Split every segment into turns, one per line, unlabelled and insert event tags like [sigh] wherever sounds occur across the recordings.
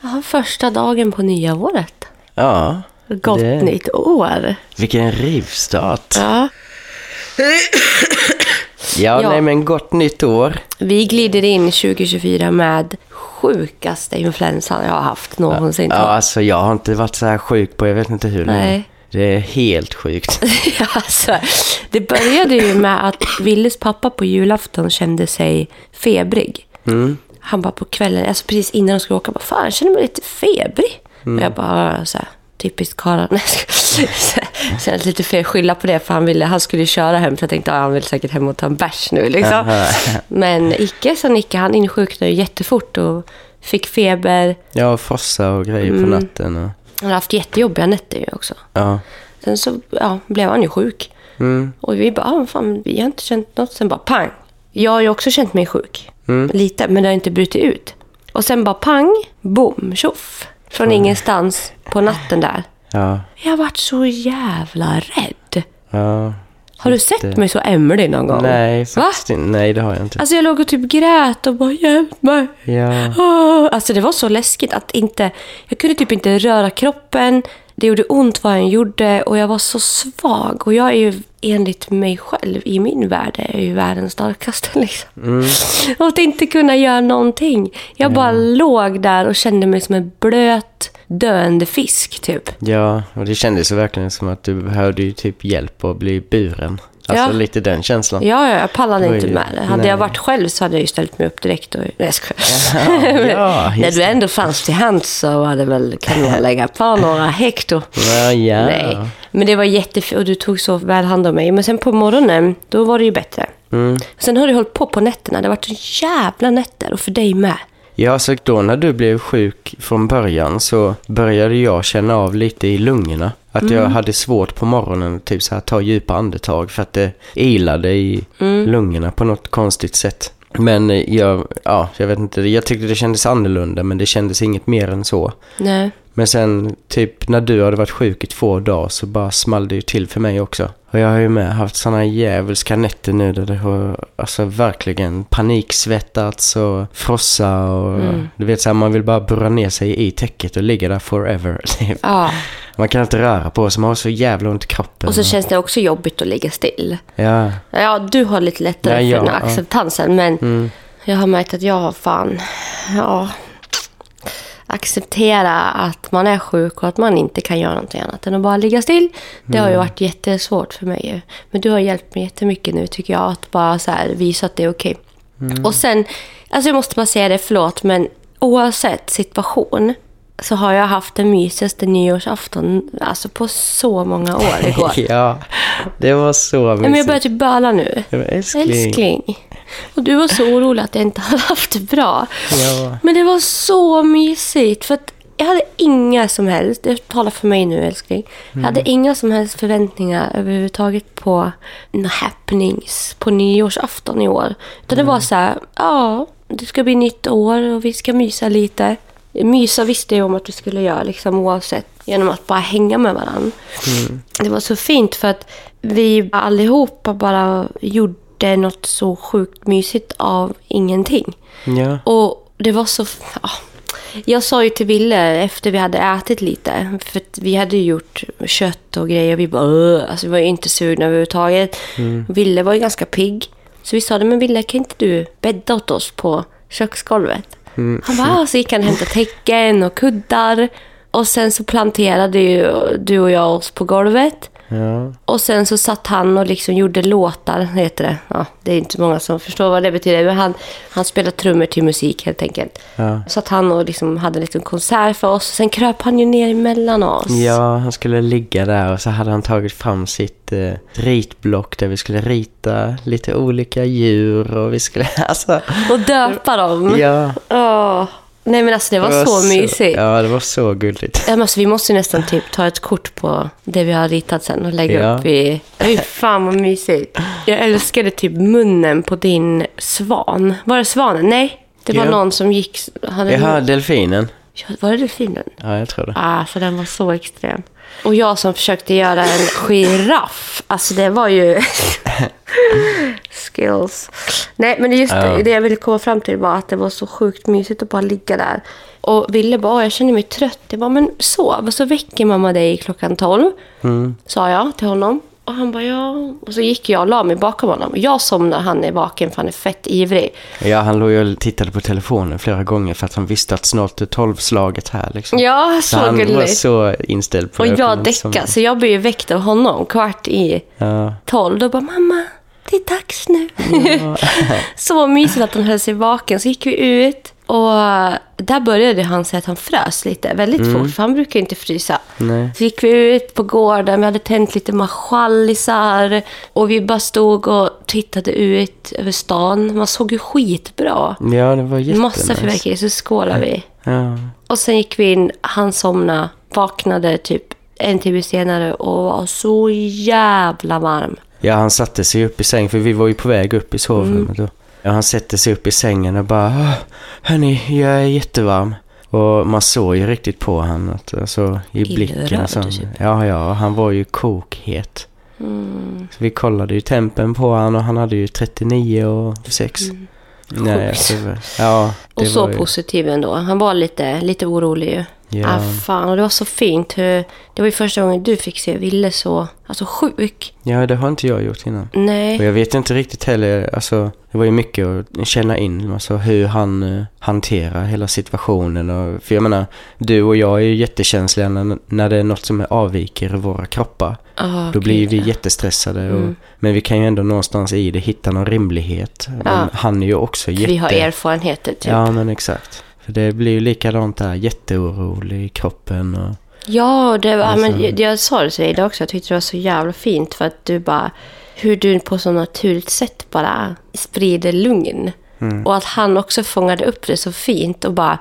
Ja, första dagen på nya året.
Ja.
Gott
det-
nytt år.
Vilken rivstart.
Ja.
Ja,
Ja.
nej men gott nytt år.
Vi glider in 2024 med sjukaste influensan jag har haft någonsin.
Ja, alltså jag har inte varit så här sjuk på jag vet inte hur länge.
Nej.
Det är
[laughs]
helt sjukt.
Ja, alltså, det började ju med att Willes pappa på julafton kände sig febrig. Han bara på kvällen, alltså precis innan de skulle åka, bara, fan jag känner mig lite febrig. Och jag bara, så här, typiskt karlar. [laughs] Nej, jag skojar. Så här, Kändes lite fel skylla på det för han, ville, han skulle ju köra hem. Så jag tänkte, ah, han vill säkert hem och ta en bärs nu. Liksom. Men icke så Nicke, han insjuknade ju jättefort och fick feber.
Ja, frossa och grejer
Mm.
på natten. Och,
Han har haft jättejobbiga nätter ju också.
ja.
Sen så ja, blev han ju sjuk. Och vi bara, ah, fan, vi har inte känt något. Sen bara pang. Jag har ju också känt mig sjuk. Lite, men det har inte brutit ut. Och sen bara pang, boom, tjoff. Från ingenstans på natten där.
Ja.
Jag har varit så jävla rädd.
Ja.
Har du sett mig så ämlig någon gång?
Nej,
Va?
faktiskt inte. Nej, det har jag inte.
Alltså jag låg och typ grät och bara hjälp mig.
Ja.
Ah. Alltså det var så läskigt att inte... Jag kunde typ inte röra kroppen. Det gjorde ont vad jag än gjorde och jag var så svag. Och jag är ju enligt mig själv, i min värld, är jag ju världens starkaste. [laughs] Liksom.
Mm.
Och att inte kunna göra någonting. Jag bara
Mm.
låg där och kände mig som en blöt, döende fisk typ.
ja, och det kändes ju verkligen som att du behövde ju typ hjälp att bli buren. Alltså
Ja.
lite
[laughs]
den känslan.
Ja, ja, jag pallade
Oj,
inte med det. Hade
nej.
jag varit själv så hade jag ju ställt mig upp direkt. Och... Nej, jag skojar.
[laughs] ja,
När
just
du ändå fanns till hands så hade väl, kan man lägga på några hekto.
Ja, ja.
Nej, men det var jättefint och du tog så väl hand om mig. Men sen på morgonen, då var det ju bättre. Sen har du hållit på på nätterna. Det har varit så jävla nätter och för dig med.
Ja, så då när du blev sjuk från början så började jag känna av lite i lungorna. Att jag hade svårt på morgonen typ så här, ta djupa andetag för att det ilade i lungorna på något konstigt sätt. Men eh, jag, ja, jag vet inte, jag tyckte det kändes annorlunda men det kändes inget mer än så.
Nej.
Men sen typ när du hade varit sjuk i två dagar så bara small det ju till för mig också. Och jag har ju med haft sådana djävulska nätter nu där det har alltså verkligen paniksvettats och frossa och
Mm.
du vet såhär man vill bara burra ner sig i täcket och ligga där forever. [laughs] typ.
Ja.
man kan inte röra på sig, man har så jävla ont i kroppen.
Och så känns det också jobbigt att ligga still.
Ja,
Ja, du har lite lättare
Ja, ja,
för den här
ja. Mm.
acceptansen. Men jag har märkt att jag har fan... Ja, acceptera att man är sjuk och att man inte kan göra någonting annat än att bara ligga still. Det har ju
Mm.
varit jättesvårt för mig. ju. Men du har hjälpt mig jättemycket nu tycker jag. Att bara så här, visa att det är okej.
Mm.
Och sen, alltså jag måste bara säga det, förlåt, men oavsett situation så har jag haft den mysigaste nyårsafton alltså på så många år igår.
[laughs] ja det var så
Nej, men jag
mysigt.
börjar typ böla nu.
Det var älskling.
Älskling. Och du var så orolig att jag inte hade haft det bra.
Ja.
Men det var så mysigt. För att jag hade inga som helst, det talar för mig nu älskling. Jag hade inga som helst förväntningar överhuvudtaget på några happenings på nyårsafton i år. Utan det var så här, ja, det ska bli nytt år och vi ska mysa lite. Mysa visste jag om att vi skulle göra liksom oavsett. Genom att bara hänga med varandra. Det var så fint för att vi allihopa bara gjorde något så sjukt mysigt av ingenting.
Ja.
Och det var så... Ja. Jag sa ju till Ville efter vi hade ätit lite, för att vi hade ju gjort kött och grejer. Vi bara, "Åh", alltså, vi var ju inte sugna överhuvudtaget. Ville var ju ganska pigg. Så vi sa, det, men Ville kan inte du bädda åt oss på köksgolvet? Han bara, "Ah", så gick han och hämtade täcken och kuddar. Och sen så planterade ju du och jag oss på golvet.
Ja.
Och sen så satt han och liksom gjorde låtar, heter det. Ja, det är inte många som förstår vad det betyder, men han, han spelade trummor till musik helt enkelt.
Ja.
Så att han och liksom hade en liten konsert för oss. Sen kröp han ju ner emellan oss.
Ja, han skulle ligga där och så hade han tagit fram sitt eh, ritblock där vi skulle rita lite olika djur och vi skulle, [laughs] alltså.
Och döpa dem.
Ja.
Åh. Nej men alltså det var, så, mysigt. Ja.
Ja, det var så gulligt.
men Alltså, vi måste ju nästan typ ta ett kort på det vi har ritat sen och lägga
Ja.
upp i... Fy fan vad mysigt. Jag älskade typ munnen på din svan. Var det svanen? Nej, det var
Ja.
någon som gick... Hade
Jaha, delfinen.
Ja, Var det delfinen?
Ja, jag tror det.
Alltså den var så extrem. Och [laughs] jag som försökte göra en giraff. Alltså det var ju skills. Nej, men just det,
Ja.
det jag ville komma fram till var att det var så sjukt mysigt att bara ligga där. Och Ville bara, "Åh, jag känner mig trött. Jag bara, men sov. Och så väcker mamma dig klockan 12, sa jag till honom. Och han bara, ja. Och så gick jag och la mig bakom honom. Jag somnar, han är vaken för han är fett ivrig.
Ja, han låg ju och tittade på telefonen flera gånger för att han visste att snart är tolvslaget här liksom.
Ja,
så
så
han var
gulligt.
så inställd på
Och
det.
jag
Som-
däckade, så jag blev ju väckt av honom kvart i
Ja,
tolv. Då bara, mamma, det är dags nu. [laughs] så mysigt att han höll sig vaken. Så gick vi ut och där började han säga att han frös lite väldigt fort, för han brukar ju inte frysa.
Mm. Nej.
Så gick vi ut på gården, vi hade tänt lite marskallisar och vi bara stod och tittade ut över stan. Man såg ju skitbra.
ja det var jättenice.
Massa fyrverkerier, så skålade vi.
Ja.
Och sen gick vi in, han somnade, vaknade typ en timme senare och var så jävla varm.
ja, han satte sig upp i sängen för vi var ju på väg upp i sovrummet
Mm.
då. Ja, han sätter sig upp i sängen och bara "Ah, Hörni, jag är jättevarm. Och man såg ju riktigt på han att, alltså, i
Illröd,
blicken. Så,
typ.
ja, ja, han var ju kokhet.
Mm.
Så vi kollade ju tempen på han och han hade ju 39 och 6. Nej,
Mm. Sjukt.
alltså, ja, det
Och så
var ju,
positiv ändå. Han var lite, lite orolig ju.
Ja.
Ah, fan, och det var så fint. Hur, det var ju första gången du fick se Ville så alltså, sjuk.
Ja, det har inte jag gjort innan. Och
Nej.
jag vet inte riktigt heller, alltså det var ju mycket att känna in, alltså hur han eh, hanterar hela situationen och, för jag menar, du och jag är ju jättekänsliga när, när det är något som är avviker i våra kroppar.
Ah,
Då blir
gud,
vi
ja. Mm.
jättestressade och, men vi kan ju ändå någonstans i det hitta någon rimlighet. Men han är ju också jätte...
Vi har erfarenheter typ. Ja.
Ja, men exakt. För det blir ju likadant där, jätteorolig i kroppen och...
det var, men jag, jag sa det till dig idag också. Jag tyckte det var så jävla fint för att du bara... Hur du på så naturligt sätt bara sprider lugn. Och att han också fångade upp det så fint och bara...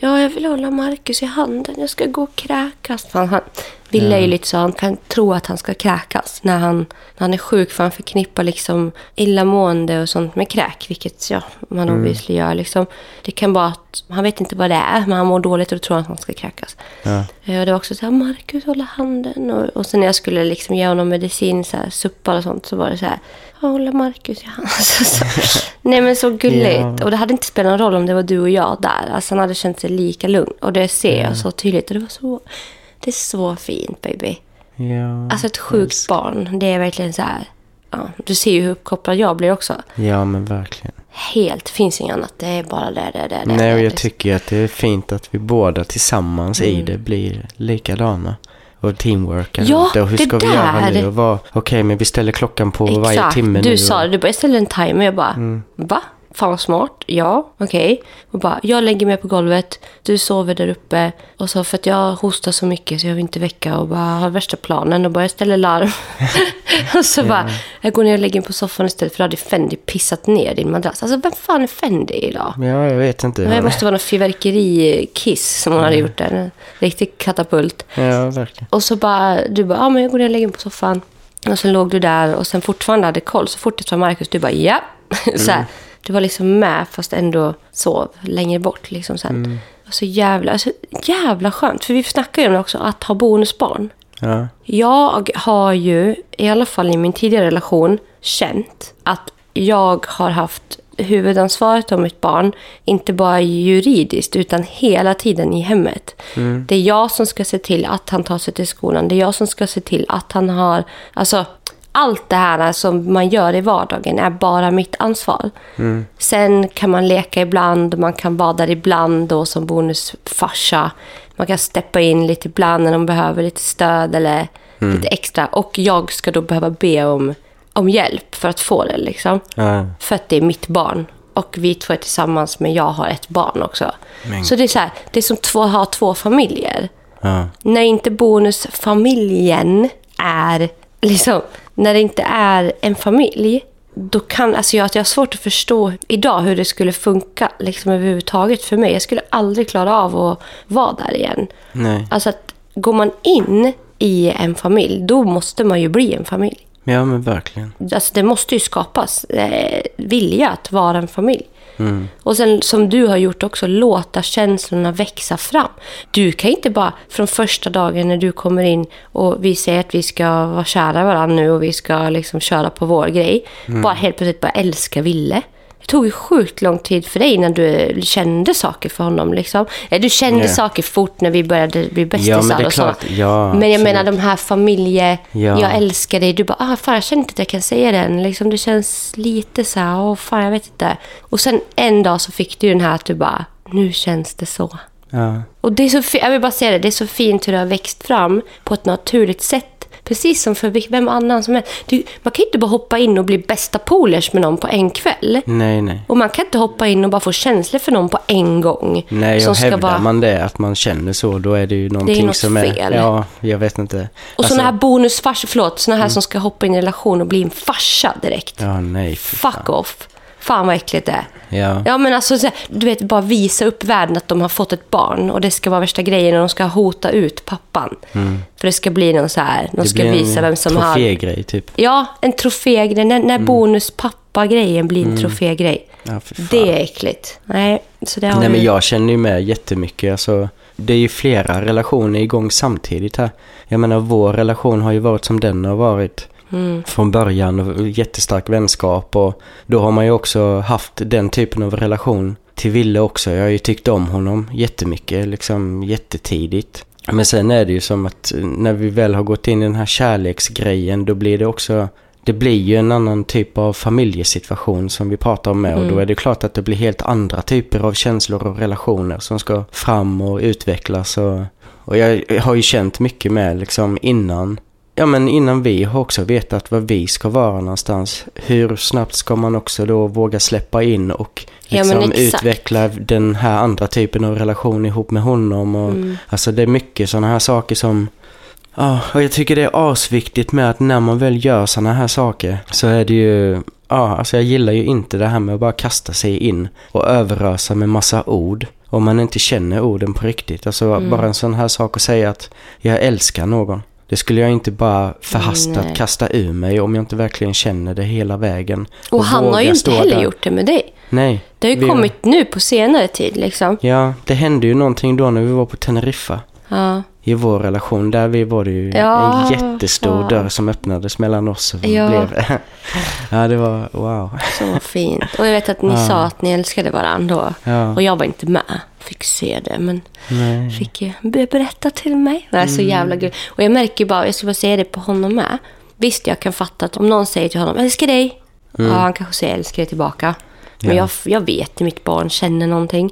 Ja, jag vill hålla Marcus i handen. Jag ska gå och kräkas. Fan, han, Ville är ju lite så han kan tro att han ska kräkas när han, när han är sjuk. För han förknippar liksom illamående och sånt med kräk. Vilket ja, man obviously gör. Liksom. Det kan vara att han vet inte vad det är. Men han mår dåligt och då tror han att han ska kräkas. Eh, Och det var också så här, Marcus hålla handen. Och, och sen när jag skulle liksom ge honom medicin, så här, suppar och sånt. Så var det så här, "Ja, hålla Marcus i handen. [laughs] Så, så. Nej men så gulligt.
Ja.
Och det hade inte spelat någon roll om det var du och jag där. Alltså han hade känt sig lika lugn. Och det ser jag så tydligt. Och det var så... Det är så fint baby.
Ja,
Alltså ett sjukt barn. Det är verkligen så här... Ja, du ser ju hur uppkopplad jag blir också.
ja men verkligen.
Helt. Finns inget annat. Det är bara det, det, det, det.
Nej, och
det.
jag tycker att det är fint att vi båda tillsammans i det blir likadana. Och teamworkar
Mm. Ja,
och Och hur
det
ska vi göra
där!
nu? Och vad- Okej, men vi ställer klockan på varje
Exakt.
timme
du
nu. Mm.
sa det. Du bara, jag ställer en timer. Jag bara, va? Fan vad smart. Ja, okej. Och bara, jag lägger mig på golvet. Du sover där uppe. Och så för att jag hostar så mycket så jag vill inte väcka och bara har värsta planen. Och bara, jag ställer larm. [laughs] och så bara, jag går ner och lägger mig på soffan istället för då hade Fendi pissat ner din madrass. Alltså vem fan är Fendi idag?
Och... Ja, jag vet inte.
Det måste vara någon fyrverkerikiss som hon hade gjort där. En riktig katapult.
Ja, verkligen.
Och så bara, du bara, ja men jag går ner och lägger mig på soffan. Och sen låg du där och sen fortfarande hade koll. Så fort det var Marcus, du bara, ja. [laughs] Så här, du var liksom med fast ändå sov längre bort. Liksom, så här. Och så jävla, alltså, jävla skönt. För vi snackar ju om det också, att ha bonusbarn.
Ja,
Jag har ju, i alla fall i min tidigare relation, känt att jag har haft huvudansvaret om mitt barn, inte bara juridiskt, utan hela tiden i hemmet. Det är jag som ska se till att han tar sig till skolan. Det är jag som ska se till att han har... Alltså, allt det här som man gör i vardagen är bara mitt ansvar. Sen kan man leka ibland, man kan vara där ibland då som bonusfarsa. Man kan steppa in lite ibland när de behöver lite stöd eller lite extra. Och jag ska då behöva be om, om hjälp för att få det. Liksom.
ja,
För att det är mitt barn. Och vi två är tillsammans, men jag har ett barn också. Så det är så här, det är som två, att ha två familjer
ja.
när inte bonusfamiljen är liksom, när det inte är en familj, då kan, alltså jag, att jag har svårt att förstå idag hur det skulle funka liksom överhuvudtaget för mig. Jag skulle aldrig klara av att vara där igen.
Nej.
Alltså att går man in i en familj, då måste man ju bli en familj.
Ja, men verkligen.
Alltså det måste ju skapas eh, vilja att vara en familj.
Mm.
Och sen som du har gjort också, låta känslorna växa fram. Du kan inte bara från första dagen när du kommer in och vi säger att vi ska vara kära varandra nu och vi ska liksom köra på vår grej.
Mm.
Bara helt plötsligt bara älska Ville. Det tog ju sjukt lång tid för dig innan du kände saker för honom. Liksom. Eh, Du kände
Ja.
saker fort när vi började bli bästisar
Ja, men det är
och så.
klart. Ja,
men jag
absolut.
menar de här familje...
Ja.
Jag älskar dig. Du bara, ah, fan jag känner inte att jag kan säga den. Liksom, det känns lite så här, åh fan jag vet inte. Och sen en dag så fick du ju den här att du bara, nu känns det så.
Ja.
Och det är så fi- jag vill bara säga det, det är så fint hur det har växt fram på ett naturligt sätt. Precis som för vil- vem annan som helst. Du, man kan ju inte bara hoppa in och bli bästa polers med någon på en kväll.
Nej, nej.
Och man kan inte hoppa in och bara få känslor för någon på en gång.
Nej,
Som
och
ska
hävdar
vara-
man det, att man känner så, då är det ju någonting
något
som är...
fel.
Ja, jag vet inte. Alltså,
Och såna här bonusfarsor, förlåt, såna här som ska hoppa in i en relation och bli en farsa direkt.
Mm. Ja, nej. fy fan.
Fuck off. Fan vad äckligt det är.
Ja.
Ja men alltså, så här, du vet bara visa upp världen att de har fått ett barn och det ska vara värsta grejen och de ska hota ut pappan. För det ska bli någon så här, de
Mm. Det
ska
blir en
visa vem som har...
trofégrej, typ.
Ja, en trofégrej. När,
Mm.
när bonuspappa-grejen blir en trofégrej.
Ja, för fan.
det är äckligt. Nej, så det har
Nej,
vi-
men jag känner ju med jättemycket. Alltså, det är ju flera relationer igång samtidigt här. Jag menar, vår relation har ju varit som den har varit.
Mm.
Från början, och jättestark vänskap och då har man ju också haft den typen av relation till Ville också. Jag har ju tyckt om honom jättemycket, liksom jättetidigt. Men sen är det ju som att när vi väl har gått in i den här kärleksgrejen, då blir det också det blir ju en annan typ av familjesituation som vi pratar om med och
Mm.
då är det klart att det blir helt andra typer av känslor och relationer som ska fram och utvecklas och, och jag har ju känt mycket med liksom innan Ja men innan vi har också vetat var vi ska vara någonstans. Hur snabbt ska man också då våga släppa in och
Ja, men
liksom
exakt.
utveckla den här andra typen av relation ihop med honom och
Mm.
alltså det är mycket sådana här saker som Ja, och jag tycker det är asviktigt med att när man väl gör sådana här saker så är det ju... Ja, alltså jag gillar ju inte det här med att bara kasta sig in och överösa med massa ord. Om man inte känner orden på riktigt. Alltså
Mm.
bara en sån här sak att säga att jag älskar någon. Det skulle jag inte bara förhastat
Nej.
kasta ur mig om jag inte verkligen känner det hela vägen.
Och han har
vågar
ju inte
stå
heller
där.
gjort det med dig.
Nej.
Det har ju
vi-
kommit nu på senare tid liksom.
Ja, det hände ju någonting då när vi var på Teneriffa.
Ja.
I vår relation, där vi var det ju
Ja,
en jättestor
fan.
dörr som öppnades mellan oss. Och
Ja.
ja. Blev. [laughs] ja, det var
[laughs]
wow.
Så fint. Och jag vet att ni sa att ni älskade varandra då.
Ja.
Och jag var inte med. Fick se det, men
Nej.
fick ju be- berätta till mig. Det är så jävla gulligt. Och jag märker ju bara, jag skulle bara säga det på honom med. Visst, jag kan fatta att om någon säger till honom, älskar dig. Ja, han kanske säger älskar dig tillbaka. Men
Ja.
jag, jag vet hur mitt barn känner någonting.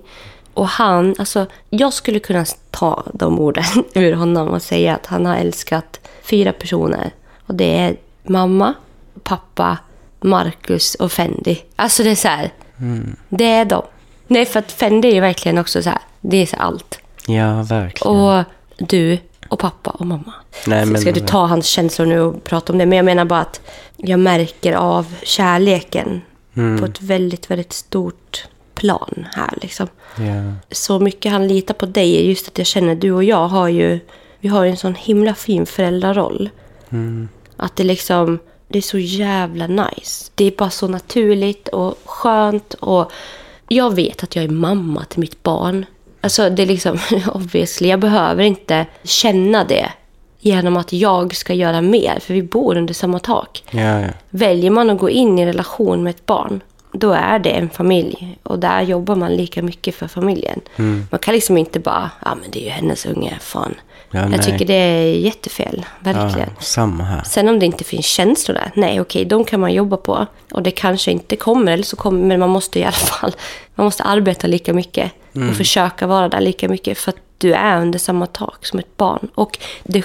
Och han, alltså jag skulle kunna ta de orden [laughs] ur honom och säga att han har älskat fyra personer. Och det är mamma, pappa, Marcus och Fendi. Alltså det är så här, det är de. Nej, för att Fendi är ju verkligen också så här, det är så här allt.
Ja, verkligen.
Och du och pappa och mamma.
Nej, men-
Ska du ta hans känslor nu och prata om det? Men jag menar bara att jag märker av kärleken
Mm.
på ett väldigt, väldigt stort plan här. Liksom.
Ja.
Så mycket han litar på dig är just att jag känner du och jag har ju, vi har ju en sån himla fin föräldraroll. Att det liksom, det är så jävla nice. Det är bara så naturligt och skönt och jag vet att jag är mamma till mitt barn. Alltså det är liksom, [laughs] obviously, jag behöver inte känna det genom att jag ska göra mer, för vi bor under samma tak.
Ja, ja.
Väljer man att gå in i en relation med ett barn, då är det en familj. Och där jobbar man lika mycket för familjen.
Mm.
Man kan liksom inte bara, ja ah, men det är ju hennes unge, fan.
Ja,
jag
nej.
tycker det är jättefel, verkligen.
ja, samma här.
Sen om det inte finns känslor där, nej okej, de kan man jobba på. Och det kanske inte kommer, eller så kommer, men man måste i alla fall, man måste arbeta lika mycket.
Mm.
Och försöka vara där lika mycket, för att du är under samma tak som ett barn. Och det,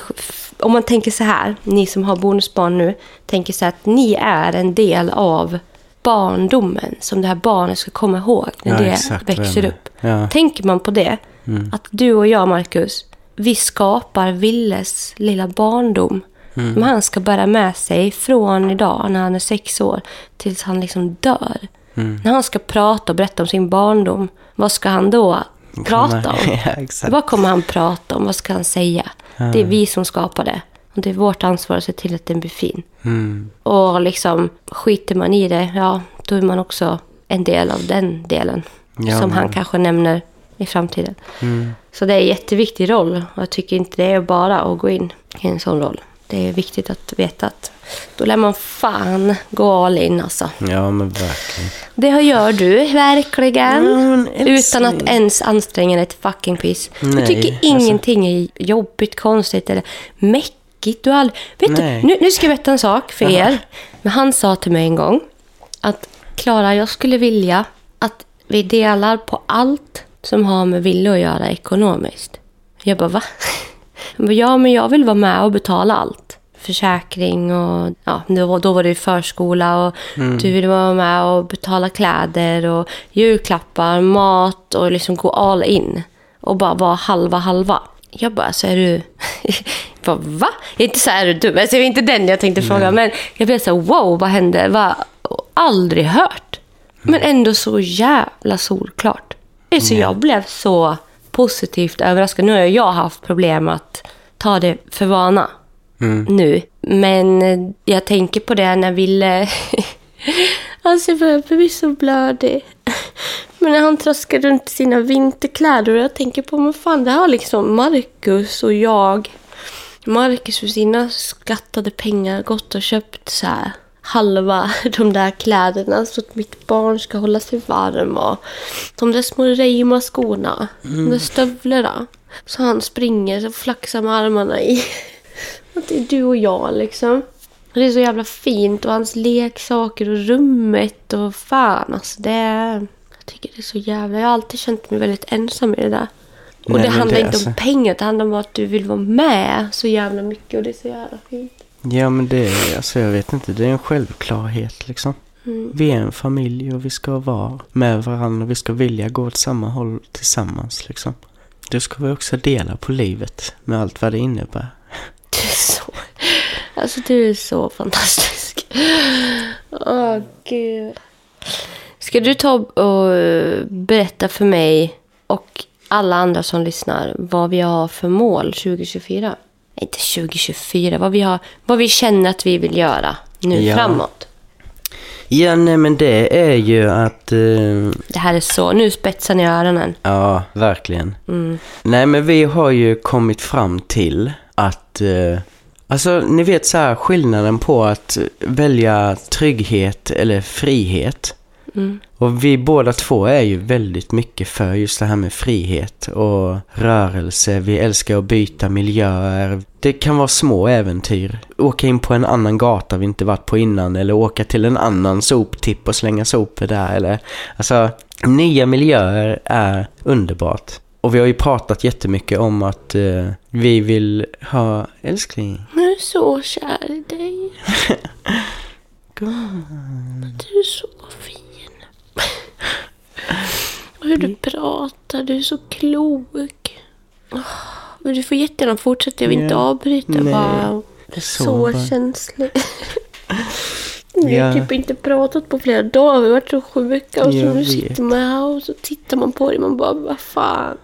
om man tänker så här, ni som har bonusbarn nu, tänker så här att ni är en del av barndomen som det här barnet ska komma ihåg när
Ja,
det
exakt vad jag
växer
menar.
upp.
Ja.
Tänker man på det, att du och jag, Marcus, vi skapar Villes lilla barndom. Men han ska bära med sig från idag, när han är sex år, tills han liksom dör. När han ska prata och berätta om sin barndom, vad ska han då prata om?
[laughs] Ja, exakt.
Vad kommer han prata om? Vad ska han säga? Det är vi som skapar det. Och det är vårt ansvar att se till
Mm.
att den blir fin. Och liksom skiter man i det, ja, då är man också en del av den delen
Ja,
som
men- Mm.
han kanske nämner i framtiden. Så det är en jätteviktig roll och jag tycker inte det är bara att gå in i en sån roll. Det är viktigt att veta att då lär man fan gå all in alltså.
Ja, men verkligen.
Det gör du verkligen.
Ja, men
Mm, utan
älskling.
att ens anstränga dig ett fucking piss.
Nej,
du tycker
alltså.
ingenting är jobbigt, konstigt eller mäckigt. Du har aldrig... Vet du,
Nej.
nu, nu ska jag berätta en sak för er. Men han sa till mig en gång att Klara, jag skulle vilja att vi delar på allt som har med Ville att göra ekonomiskt. Jag bara, va? [laughs] Han bara, ja, men jag vill vara med och betala allt. Försäkring och ja, det var- då var det ju förskola och
Mm.
du ville vara med och betala kläder och julklappar, mat och liksom gå all in. Och bara vara halva halva. Jag bara, så är du... [laughs] Jag bara, va? Jag är inte så här, är du dum? Alltså, det var inte den jag tänkte fråga. Men jag blev så här, wow, vad hände? Va? Aldrig hört. Men ändå så jävla solklart. Så jag blev så positivt överraskad. Nu har jag haft problem att ta det för vana nu. Men eh, jag tänker på det när Ville... [laughs] alltså jag börjar bli så blödig. [laughs] Men när han traskar runt i sina vinterkläder och jag tänker på, men fan det här har liksom Marcus och jag. Marcus för sina skattade pengar gått och köpt så här halva [laughs] de där kläderna så att mitt barn ska hålla sig varm och de där små Reima-skorna, de där stövlarna. Så han springer och flaxar med armarna i. [laughs] Att det är du och jag liksom. Och Det är så jävla fint och hans leksaker och rummet och fan alltså det är... Jag tycker det är så jävla... Jag har alltid känt mig väldigt ensam i det där. Och
Nej,
det
men
handlar
det-
inte
alltså-
om pengar, det handlar om att du vill vara med så jävla mycket och det är så jävla fint.
Ja, men det är, alltså jag vet inte, det är en självklarhet liksom.
Mm.
Vi är en familj och vi ska vara med varandra och vi ska vilja gå åt samma håll tillsammans liksom. Då ska vi också dela på livet med allt vad det innebär.
Du är så... [laughs] Alltså du är så fantastisk. Åh gud. Ska du ta och eh, berätta för mig och alla andra som lyssnar vad vi har för mål 2024? Nej, Inte 2024, vad vi, har, vad vi känner att vi vill göra nu
Ja.
framåt.
Ja, nej men det är ju att... eh,
Det här är så, nu spetsar ni öronen.
Ja, verkligen. Nej, men vi har ju kommit fram till att... Eh, alltså, ni vet så här skillnaden på att välja trygghet eller frihet. Och vi båda två är ju väldigt mycket för just det här med frihet och rörelse. Vi älskar att byta miljöer. Det kan vara små äventyr. Åka in på en annan gata vi inte varit på innan eller åka till en annan soptipp och slänga sopor där eller... Alltså, nya miljöer är underbart. Och vi har ju pratat jättemycket om att eh, vi vill ha älskling.
Jag är så kär i
[laughs]
dig. Du är så fin. Och hur
Mm.
du pratar, du är så klok. Åh, Men du får jättegärna fortsätta, jag vill inte
Ja.
avbryta.
Nej.
Bara.
Det är
Så,
bra. [laughs]
känslig. Vi har
Ja.
typ inte pratat på flera dagar, vi har varit så sjuka och så
Jag
nu
vet.
sitter man här och så tittar man på det man bara vad fan.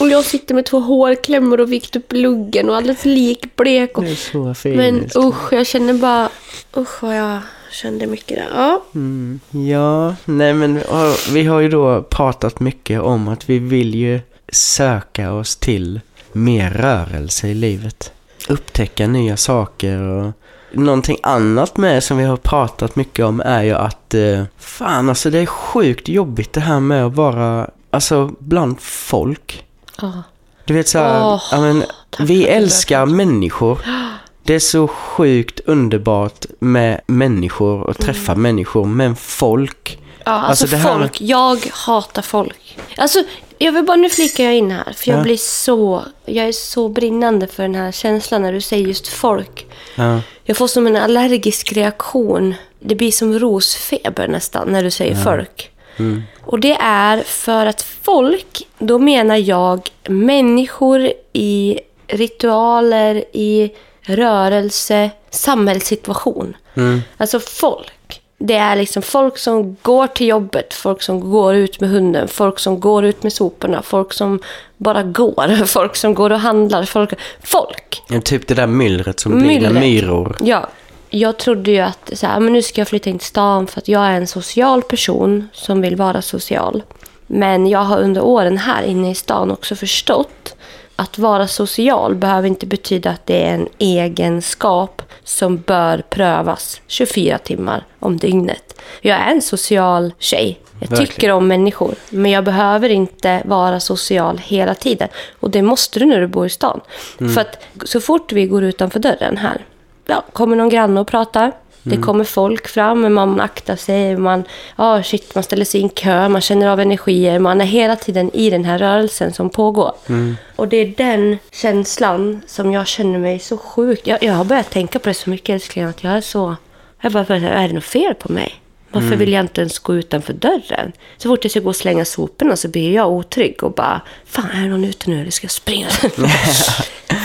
Och jag sitter med två hårklämmor och vikt upp luggen och alldeles likblek och
Det är så fint.
men usch, jag känner bara... Usch vad jag kände mycket där. Ja.
Mm. Ja, nej men ja, vi har ju då pratat mycket om att vi vill ju söka oss till mer rörelse i livet. Upptäcka nya saker och någonting annat med som vi har pratat mycket om är ju att eh, fan alltså det är sjukt jobbigt det här med att vara alltså bland folk. Du vet så här,
Åh,
ja, men, vi
för att du
älskar människor. Det är så sjukt underbart med människor och träffa
Mm.
människor, men folk.
Ja, alltså,
det här med-
folk. Jag hatar folk. Alltså, jag vill bara... Nu flikar jag in här. För jag
Ja.
blir så... Jag är så brinnande för den här känslan när du säger just folk.
Ja,
Jag får som en allergisk reaktion. Det blir som rosfeber nästan när du säger folk. Och det är för att folk, då menar jag människor i ritualer, i rörelse, samhällssituation. Alltså folk. Det är liksom folk som går till jobbet, folk som går ut med hunden, folk som går ut med soporna, folk som bara går, [laughs] folk som går och handlar. Folk. folk.
typ det där myllret som blir
Myllret.
myror.
Ja. jag trodde ju att så här, "Ah, men nu ska jag flytta in till stan för att jag är en social person som vill vara social. Men jag har under åren här inne i stan också förstått att vara social behöver inte betyda att det är en egenskap som bör prövas 24 timmar om dygnet. Jag är en social tjej. Jag
Verkligen.
tycker om människor, men jag behöver inte vara social hela tiden. Och det måste du när du bor i stan. För att så fort vi går utanför dörren här, ja, kommer någon granne och pratar. Det kommer folk fram, men man aktar sig. Man, ah shit, man ställer sig i en kö, man känner av energier. Man är hela tiden i den här rörelsen som pågår. Och det är den känslan som jag känner mig så sjukt... Jag, jag har börjat tänka på det så mycket, älskling, att jag är så... Jag bara, börjar säga, är det något fel på mig? Varför vill jag inte ens gå utanför dörren? Så fort jag ska gå och slänga soporna så blir jag otrygg och bara, fan är någon ute nu eller ska jag springa?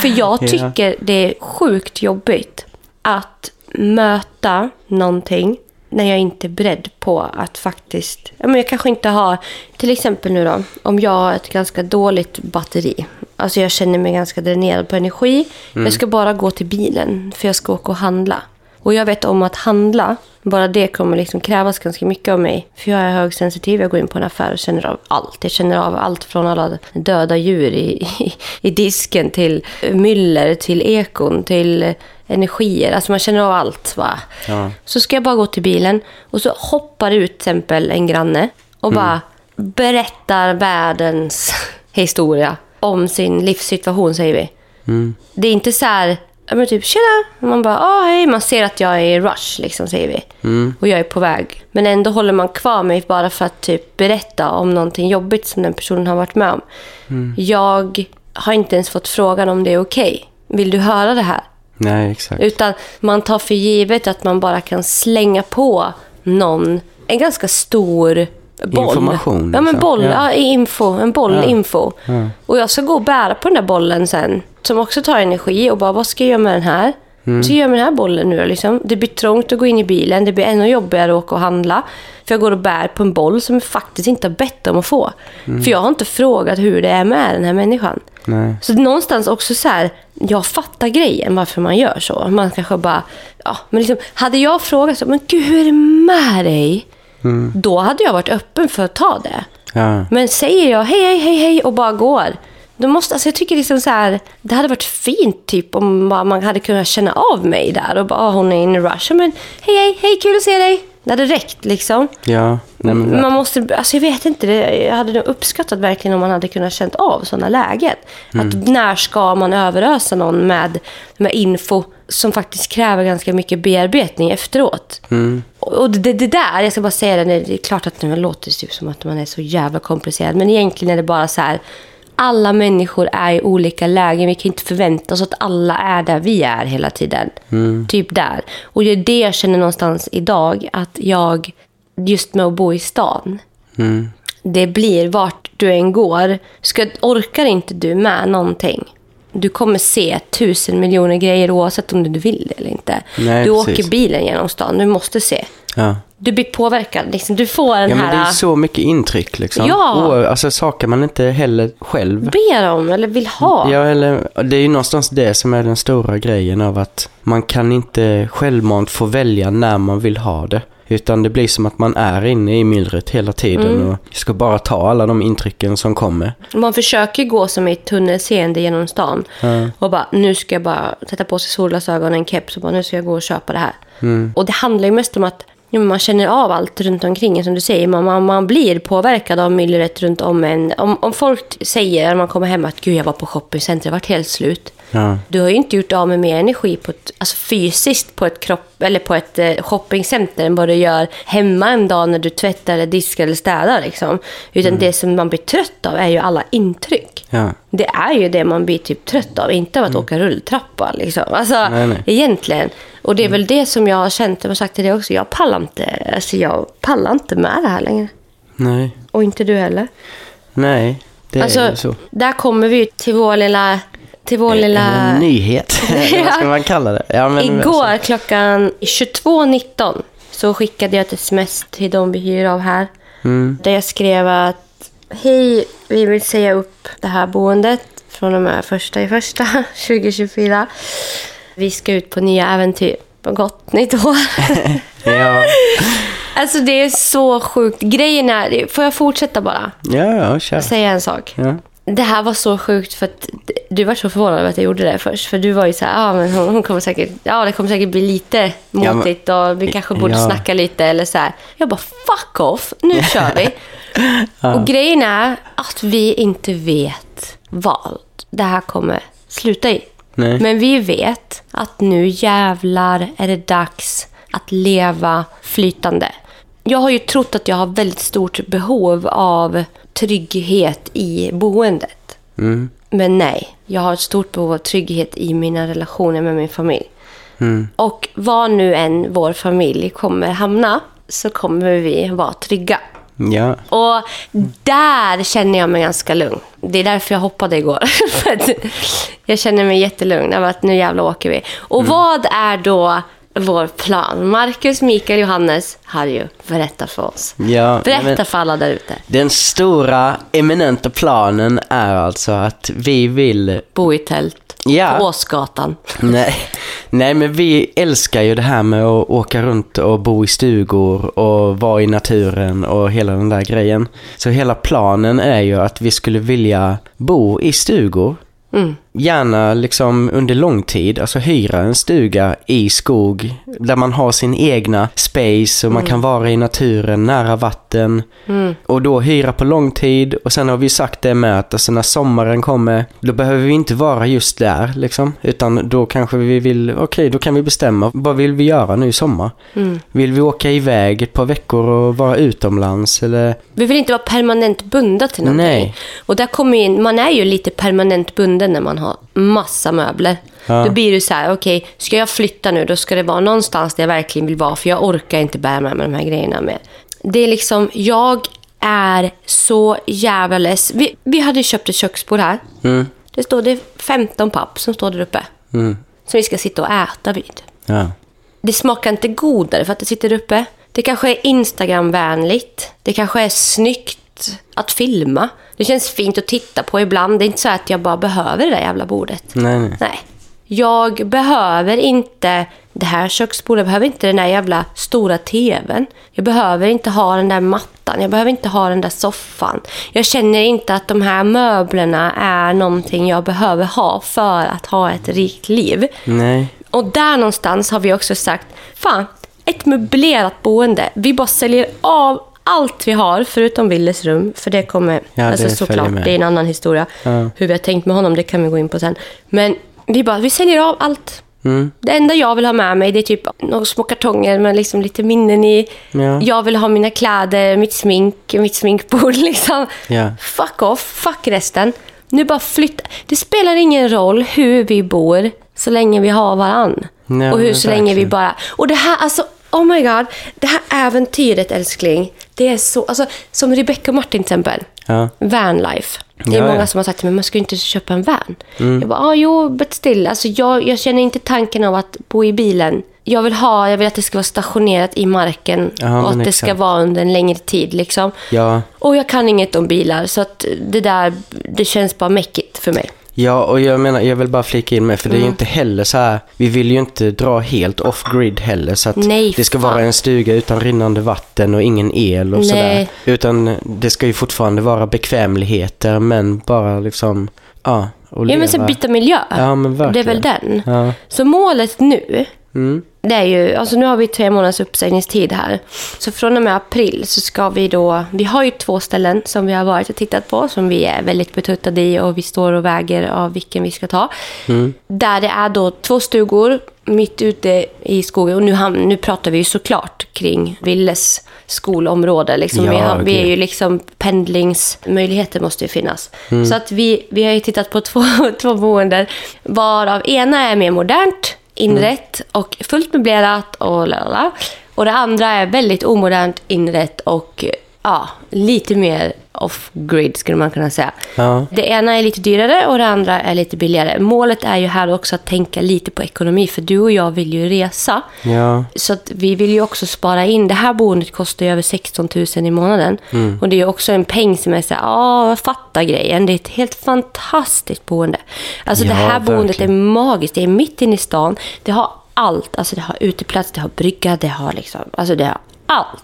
För jag tycker det är sjukt jobbigt att möta någonting när jag inte är beredd på att faktiskt... Ja, men jag kanske inte har... Till exempel nu då, om jag har ett ganska dåligt batteri. Alltså jag känner mig ganska dränerad på energi. Jag ska bara gå till bilen för jag ska åka och handla. Och jag vet om att handla, bara det kommer liksom krävas ganska mycket av mig. För jag är högsensitiv, jag går in på en affär och känner av allt. Jag känner av allt från alla döda djur i, i, i disken till myller, till ekon, till energier. Alltså man känner av allt. Va?
Ja.
Så ska jag bara gå till bilen och så hoppar ut till exempel en granne och bara berättar världens historia om sin livssituation, säger vi. Det är inte så här, ja, men typ tjena, och man bara ah, hej, man ser att jag är i rush liksom säger vi.
Mm.
Och jag är på väg. Men ändå håller man kvar mig bara för att typ berätta om någonting jobbigt som den personen har varit med om.
Mm.
Jag har inte ens fått frågan om det är okej. Vill du höra det här?
Nej, exakt.
Utan man tar för givet att man bara kan slänga på någon en ganska stor boll.
Information,
Ja, men
liksom.
boll.
Ja.
Ja. info. En boll info. Och jag ska gå och bära på den där bollen sen, som också tar energi och bara, vad ska jag göra med den här? Vad ska jag göra med den här bollen nu då, liksom? Det blir trångt att gå in i bilen, det blir ännu jobbigare att åka och handla. För jag går och bär på en boll som jag faktiskt inte har bett om att få. För jag har inte frågat hur det är med den här människan.
Nej.
Så någonstans också så här, jag fattar grejen varför man gör så. Man kanske bara, ja, men liksom, hade jag frågat så, men gud hur är det med dig? Då hade jag varit öppen för att ta det.
Ja.
Men säger jag hej, hej, hej, hej och bara går. Då måste, alltså jag tycker liksom så här, det hade varit fint typ om bara man hade kunnat känna av mig där och bara, ah, hon är in i rush. Ja, Men hej, hej, hej, kul att se dig. Det hade räckt liksom.
Ja. Nej, men,
Man måste, alltså jag vet inte, det, jag hade nog uppskattat verkligen om man hade kunnat känt av sådana lägen.
Mm.
Att när ska man överösa någon med, med info som faktiskt kräver ganska mycket bearbetning efteråt.
Mm.
Och- Och det, det där, jag ska bara säga det, nej, det är klart att det låter typ som att man är så jävla komplicerad, men egentligen är det bara så här, alla människor är i olika lägen. Vi kan inte förvänta oss att alla är där vi är hela tiden.
Mm.
Typ där. Och det är det jag känner någonstans idag, att jag, just med att bo i stan,
Mm.
det blir vart du än går. Ska, orkar inte du med någonting? Du kommer se tusen miljoner grejer oavsett om du vill det eller inte.
Nej,
du
precis.
åker bilen genom stan, du måste se.
ja.
Du blir påverkad, liksom. du får den
Ja, men det
här...
är så mycket intryck liksom.
Ja.
Och, alltså saker man inte heller själv
Ber om eller vill ha.
Ja, eller det är ju någonstans det som är den stora grejen av att man kan inte självmant få välja när man vill ha det. Utan det blir som att man är inne i myllret hela tiden
Mm.
och ska bara ta alla de intrycken som kommer.
Man försöker gå som i ett tunnelseende genom stan. Och bara, nu ska jag bara sätta på sig solglasögon och en keps och bara, nu ska jag gå och köpa det här. Och det handlar ju mest om att ja, men man känner av allt runt omkring en, som du säger. Man, man, man blir påverkad av myllret runt om en. Om, om folk säger när man kommer hem att gud, jag var på shoppingcentret, jag vart helt slut.
Ja.
Du har ju inte gjort av med mer energi på ett, alltså fysiskt på ett, kropp, eller på ett eh, shoppingcenter än vad du gör hemma en dag när du tvättar, eller diskar eller städar. Liksom. Utan det som man blir trött av är ju alla intryck.
Mm. Ja. Mm.
Det är ju det man blir typ trött av, inte av att åka rulltrappa. Liksom. Alltså,
Nej, nej. Mm.
Egentligen. Och det är väl det som jag har känt, jag har sagt till det också, jag pallar inte, alltså, jag pallar inte med det här längre.
Nej.
Och inte du heller.
Nej. Det är
Alltså,
ju så.
där kommer vi ju till vår lilla... Till vår lilla... [laughs]
En nyhet.
Ja.
Vad ska man kalla det? Ja, men,
Igår klockan 22.19 så skickade jag ett sms till de vi hyr av här.
Mm.
Där jag skrev att hej, vi vill säga upp det här boendet [laughs] från och med första i första 2024. Vi ska ut på nya äventyr. Gott nytt år. [laughs]
Ja,
Alltså det är så sjukt. Grejen är, får jag fortsätta bara?
ja, ja, kör.
Säga en sak.
Ja.
Det här var så sjukt för att du var så förvånad över att jag gjorde det först. För du var ju så här, ja ah, men hon, hon kommer säkert, ja det kommer säkert bli lite
men-
motigt och vi kanske borde
Ja.
snacka lite eller så här. Jag bara fuck off, nu kör vi. Och grejen är att vi inte vet vad det här kommer sluta i.
Nej.
Men vi vet att nu jävlar är det dags att leva flytande. Jag har ju trott att jag har väldigt stort behov av trygghet i boendet. Men nej, jag har ett stort behov av trygghet i mina relationer med min familj.
Mm.
Och var nu än vår familj kommer hamna så kommer vi vara trygga.
Ja,
Och där känner jag mig ganska lugn. Det är därför jag hoppade igår. [laughs] För att jag känner mig jättelugn över att nu jävlar åker vi. Och
Mm.
vad är då vår plan? Marcus, Mikael, Johannes, Harju, berätta för oss.
ja.
Berätta
men-
för alla där ute.
Den stora eminenta planen är alltså att vi vill...
Bo i tält
Ja.
på Åsgatan.
Nej, nej, men vi älskar ju det här med att åka runt och bo i stugor och vara i naturen och hela den där grejen. Så hela planen är ju att vi skulle vilja bo i stugor. Gärna liksom under lång tid, alltså hyra en stuga i skog där man har sin egna space och man kan vara i naturen nära vatten. Och då hyra på lång tid och sen har vi sagt det med att alltså när sommaren kommer då behöver vi inte vara just där liksom. Utan då kanske vi vill, okej då kan vi bestämma vad vill vi göra nu i sommar? Vill vi åka iväg ett par veckor och vara utomlands eller?
Vi vill inte vara permanent bundna till någonting.
Nej.
Och där kommer ju in, man är ju lite permanent bunden när man har massa möbler.
Ja.
Då blir det så här, okej, ska jag flytta nu, då ska det vara någonstans där jag verkligen vill vara, för jag orkar inte bära med mig de här grejerna mer. Det är liksom, jag är så jävla less. Vi, vi hade ju köpt ett köksbord här.
Mm.
Det står det är 15 papp som står där uppe. Som vi ska sitta och äta vid.
Ja.
Det smakar inte godare för att det sitter uppe. Det kanske är Instagramvänligt. Det kanske är snyggt att filma. Det känns fint att titta på ibland. Det är inte så att jag bara behöver det där jävla bordet.
Nej, nej.
Nej. Jag behöver inte det här köksbordet. Jag behöver inte den där jävla stora tvn. Jag behöver inte ha den där mattan. Jag behöver inte ha den där soffan. Jag känner inte att de här möblerna är någonting jag behöver ha för att ha ett rikt liv.
Nej.
Och där någonstans har vi också sagt, fan, ett möblerat boende. Vi bara säljer av allt vi har, förutom Willes rum, för det kommer,
Ja, det
alltså
följer
såklart,
med.
det är en annan historia.
Ja.
Hur vi har tänkt med honom, det kan vi gå in på sen. Men vi bara, vi säljer av allt.
Mm.
Det enda jag vill ha med mig det är typ några små kartonger med liksom lite minnen i.
Ja.
Jag vill ha mina kläder, mitt smink, mitt sminkbord. [laughs] Liksom.
Ja.
Fuck off, fuck resten. Nu bara flytta. Det spelar ingen roll hur vi bor så länge vi har varann.
Nej,
och hur
men
så länge vi
verkligen.
bara... Och det här, alltså, oh my god. Det här äventyret älskling. Det är så, alltså, som Rebecca och Martin till exempel.
Ja.
Vanlife. Det är
Ja, Mm. ja.
många som har sagt till mig, man ska ju inte köpa en van. Jag bara, ah, jo, but still. Alltså, jag, jag känner inte tanken av att bo i bilen. Jag vill ha, jag vill att det ska vara stationerat i marken
Ja,
och att
men
det ska
exakt.
vara under en längre tid. Liksom.
Ja.
Och jag kan inget om bilar, så att det där det känns bara mäckigt för mig.
Ja, och jag menar, jag vill bara flika in med, för
Mm.
det är ju inte heller så här, vi vill ju inte dra helt off-grid heller, så att
Nej,
det ska
fan.
vara en stuga utan rinnande vatten och ingen el och
Nej.
sådär. Utan det ska ju fortfarande vara bekvämligheter, men bara liksom, ja, och
Ja,
leva.
men sen byta miljö.
Ja, men
det är väl
verkligen.
den.
Ja, Mm.
Så målet nu, det är ju, alltså nu har vi tre månaders uppsägningstid här. Så från och med april så ska vi då, vi har ju två ställen som vi har varit och tittat på som vi är väldigt betuttade i och vi står och väger av vilken vi ska ta.
Mm.
Där det är då två stugor mitt ute i skogen och nu, ham- nu pratar vi ju såklart kring Willes skolområde. Liksom. vi,
Ja,
har, vi är
gud.
ju liksom pendlingsmöjligheter måste ju finnas.
Mm.
Så att vi, vi har ju tittat på [laughs] två, två boenden, varav ena är mer modernt, inrett
Mm.
och fullt möblerat och lalala. Och det andra är väldigt omodernt, inrett och ja, lite mer off-grid skulle man kunna säga.
Ja.
Det ena är lite dyrare och det andra är lite billigare. Målet är ju här också att tänka lite på ekonomi, för du och jag vill ju resa.
ja,
Så att vi vill ju också spara in. Det här boendet kostar ju över 16 000 i månaden.
Mm.
Och det är ju också en peng som är så här, ja, jag fattar grejen. Det är ett helt fantastiskt boende. Alltså det
Ja,
här boendet
verkligen.
är magiskt. Det är mitt inne i stan. Det har allt. Alltså det har uteplats, det har brygga, det har liksom, alltså det har allt.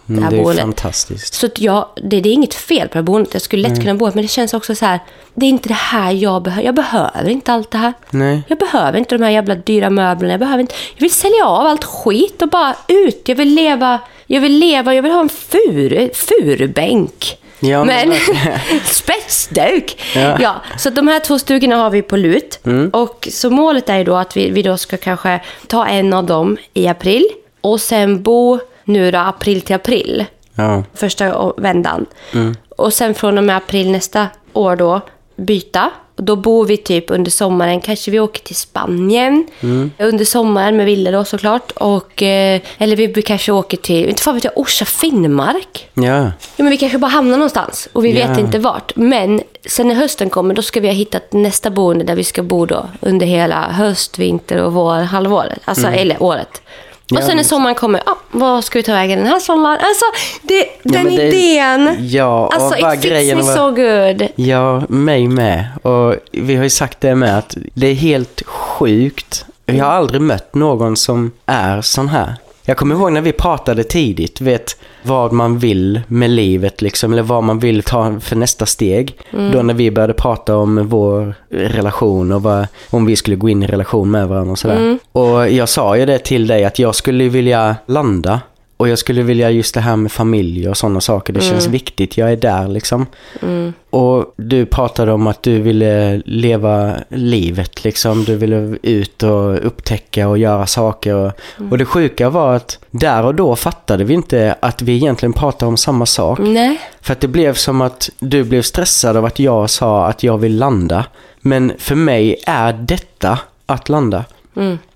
Det
Mm,
här
det är ju
boendet.
fantastiskt.
Så att jag, det, det är inget fel på det här boendet. Jag skulle lätt kunna bo här, men det känns också så här. Det är inte det här jag behöver. Jag behöver inte allt det här.
Nej.
Jag behöver inte de här jävla dyra möblerna. Jag, behöver inte, jag vill sälja av allt skit och bara ut. Jag vill leva, jag vill, leva, jag vill ha en furu, furubänk.
Ja, men
men [laughs] spetsduk!
Ja. Mm.
Ja. så att de här två stugorna har vi på lut. Och så målet är ju då att vi, vi då ska kanske ta en av dem i april och sen bo nu då april till april
Ja.
första å- vändan. Och sen från och med april nästa år då byta. Och Då bor vi typ under sommaren, kanske vi åker till Spanien under sommaren med Ville då såklart. Och, eh, eller vi kanske åker till, inte fan vet jag, Orsa Finnmark.
Ja.
Ja, men vi kanske bara hamnar någonstans och vi
Ja.
vet inte vart. Men sen när hösten kommer då ska vi ha hittat nästa boende där vi ska bo då under hela höst, vinter och vår, halvåret. Alltså,
Mm.
eller året. Och sen när sommaren kommer, ja, vad ska vi ta vägen den här sommaren? Alltså, det, den
men det-
idén!
Ja, och
alltså,
bara
it fits
grejen
me
var-
so good.
Ja, mig med. Och vi har ju sagt det med att det är helt sjukt. Vi har aldrig mött någon som är sån här. Jag kommer ihåg när vi pratade tidigt, vet vad man vill med livet liksom, eller vad man vill ta för nästa steg. Då när vi började prata om vår relation och vad, om vi skulle gå in i relation med varandra och sådär. Och jag sa ju det till dig att jag skulle vilja landa och jag skulle vilja just det här med familj och sådana saker. Det känns viktigt. Jag är där liksom. Och du pratade om att du ville leva livet liksom. Du ville ut och upptäcka och göra saker. Och, och det sjuka var att där och då fattade vi inte att vi egentligen pratade om samma sak.
Nej.
För att det blev som att du blev stressad av att jag sa att jag vill landa. Men för mig är detta att landa.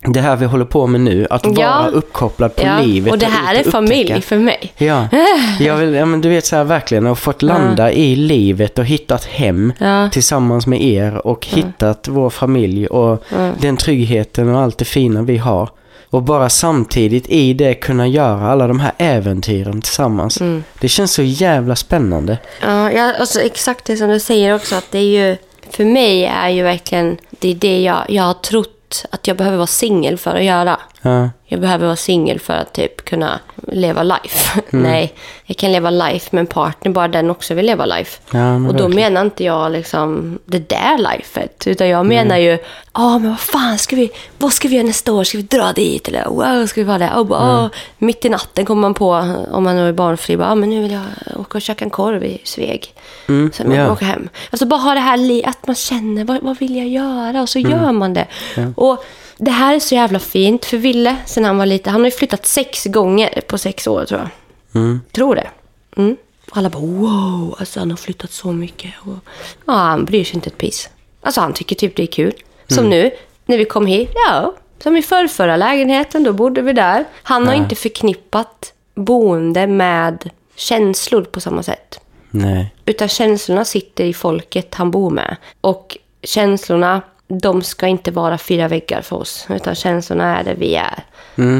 Det här vi håller på med nu, att
Mm. Ja.
vara uppkopplad på
Ja.
livet.
Och det
ut
här är
upptäcka.
familj för mig.
Ja,
[laughs]
jag vill, ja men du vet så här verkligen, och fått landa i livet och hittat hem
Ja.
tillsammans med er och hittat vår familj och den tryggheten och allt det fina vi har. Och bara samtidigt i det kunna göra alla de här äventyren tillsammans.
Mm.
Det känns så jävla spännande.
Ja, ja, alltså, exakt det som du säger också. Att det är ju, för mig är ju verkligen det, är det jag, jag har trott att jag behöver vara singel för att göra.
Ja,
Jag behöver vara singel för att typ kunna leva life. [laughs] Nej, jag kan leva life med en partner, bara den också vill leva life.
Ja, men
och då
verkligen.
menar inte jag liksom det där lifet, utan jag menar ju, ja men vad fan ska vi, vad ska vi göra nästa år? Ska vi dra dit? Eller wow, ska vi vara där? Och bara, "Åh." mitt i natten kommer man på, om man är barnfri, bara, "Ah, men nu vill jag åka och käka en korv i Sveg. Sen man
Mm, ja.
åker hem. Alltså bara ha det här, li- att man känner, vad, vad vill jag göra? Och så
Mm.
gör man det. Och det här är så jävla fint, för Ville, sen han var liten, han har ju flyttat sex gånger på sex år tror jag. Tror det. Mm. Och alla bara wow, alltså han har flyttat så mycket. Och, ja, han bryr sig inte ett piss. Alltså han tycker typ det är kul. Som nu, när vi kom hit. Ja, som i förrförra lägenheten, då bodde vi där. Han har inte förknippat boende med känslor på samma sätt.
nej.
Utan känslorna sitter i folket han bor med. Och känslorna, de ska inte vara fyra väggar för oss. Utan känslorna är där vi är.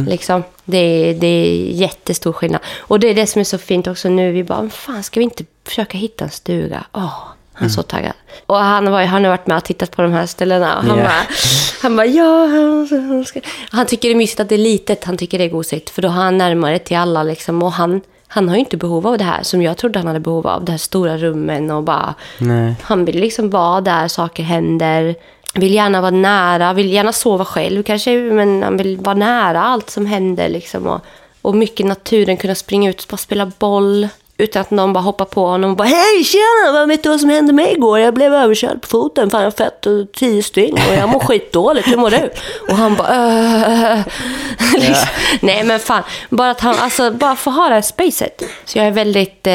Liksom, det, är- det är jättestor skillnad. Och det är det som är så fint också nu. Vi bara, "Men fan ska vi inte försöka hitta en stuga? Åh, han är så taggad. Och han, var, ju- han har varit med och tittat på de här ställena. Och han,
Ja.
bara, [laughs] han bara, ja. han- han ska-" Han tycker det är mysigt att det är litet. Han tycker det är gosigt. För då har han närmare till alla. Liksom, och han, han har ju inte behov av det här som jag trodde han hade behov av. Det här stora rummen och bara...
Nej.
Han vill liksom vara där saker händer. Vill gärna vara nära, vill gärna sova själv kanske, men han vill vara nära allt som händer. Liksom och, och mycket i naturen, kunna springa ut och bara spela boll. Utan att någon bara hoppar på honom och bara Hej tjena, vad vet du vad som hände mig igår? Jag blev överkörd på foten, fan jag fett och tio stygn och jag mår skitdåligt, hur mår du? Och han bara "Äh." [laughs] liksom. Nej men fan, bara att han, alltså bara få ha det här spacet. Så jag är väldigt, eh,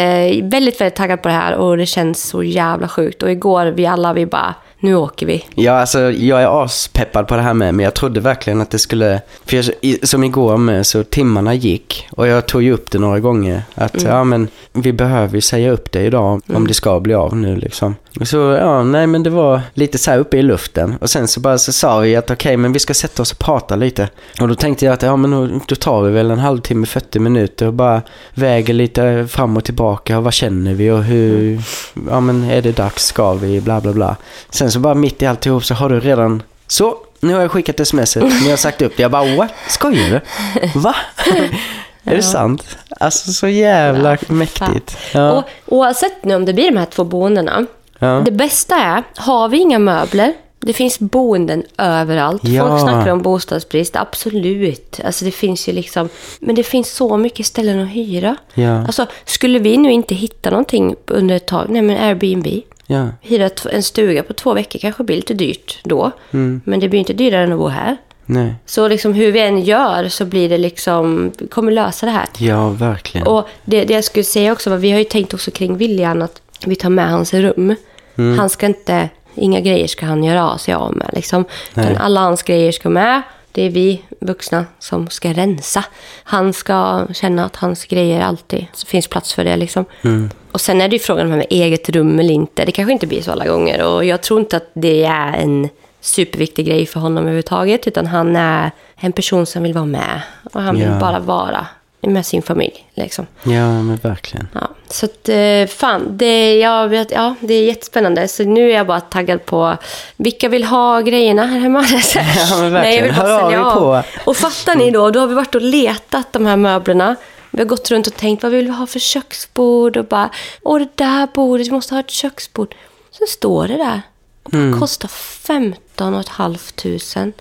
väldigt, väldigt taggad på det här och det känns så jävla sjukt. Och igår, vi alla, vi bara, nu åker vi.
Ja, alltså jag är aspeppad på det här med, men jag trodde verkligen att det skulle... För jag, i- som igår med, så timmarna gick och jag tog ju upp det några gånger. Att ja, men vi behöver ju säga upp det idag om det ska bli av nu liksom. Och Så ja, nej men det var lite så här uppe i luften. Och sen så bara så sa vi att okej, men vi ska sätta oss och prata lite. Och då tänkte jag att ja, men då- då tar vi väl en halvtimme, 40 minuter och bara väger lite fram och tillbaka. Och vad känner vi och hur,
Mm.
ja men är det dags, ska vi, bla bla bla. Sen så bara mitt i alltihop så har du redan, så, nu har jag skickat smset, ni har sagt upp det. Jag bara, what? Skojar du?
[laughs]
Va? Är det sant? Alltså så jävla mäktigt. Ja.
Och, oavsett nu om det blir de här två boendena.
Ja.
Det bästa är, har vi inga möbler, det finns boenden överallt.
Ja.
Folk snackar om bostadsbrist, absolut. Alltså det finns ju liksom, men det finns så mycket ställen att hyra.
Ja.
Alltså, skulle vi nu inte hitta någonting under ett tag, nej men Airbnb.
ja.
Hyra ett- en stuga på två veckor kanske blir lite dyrt då.
Mm.
Men det blir inte dyrare än att bo här.
Nej.
Så liksom hur vi än gör så blir det liksom, vi kommer lösa det här.
Ja, verkligen.
Och det, det jag skulle säga också var, vi har ju tänkt också kring William att vi tar med hans rum. Han ska inte, inga grejer ska han göra av sig av med liksom. Utan alla hans grejer ska med. Det är vi vuxna som ska rensa. Han ska känna att hans grejer alltid så finns plats för det liksom. Och sen är det ju frågan om det här med eget rum eller inte. Det kanske inte blir så alla gånger och jag tror inte att det är en superviktig grej för honom överhuvudtaget utan han är en person som vill vara med och han vill
Ja.
bara vara med sin familj. Liksom.
Ja, men verkligen.
Ja, så att, eh, fan, det, jag vet, ja, det är jättespännande. Så nu är jag bara taggad på vilka vill ha grejerna här hemma. [laughs]
Ja, men verkligen.
jag vill bara
Hör av
sälja
er
av.
på.
Och fattar ni då, då har vi varit och letat de här möblerna. Vi har gått runt och tänkt, vad vill vi ha för köksbord? Och bara, åh det där bordet, vi måste ha ett köksbord. Sen står det där. Och det
Mm.
kostar 15 500.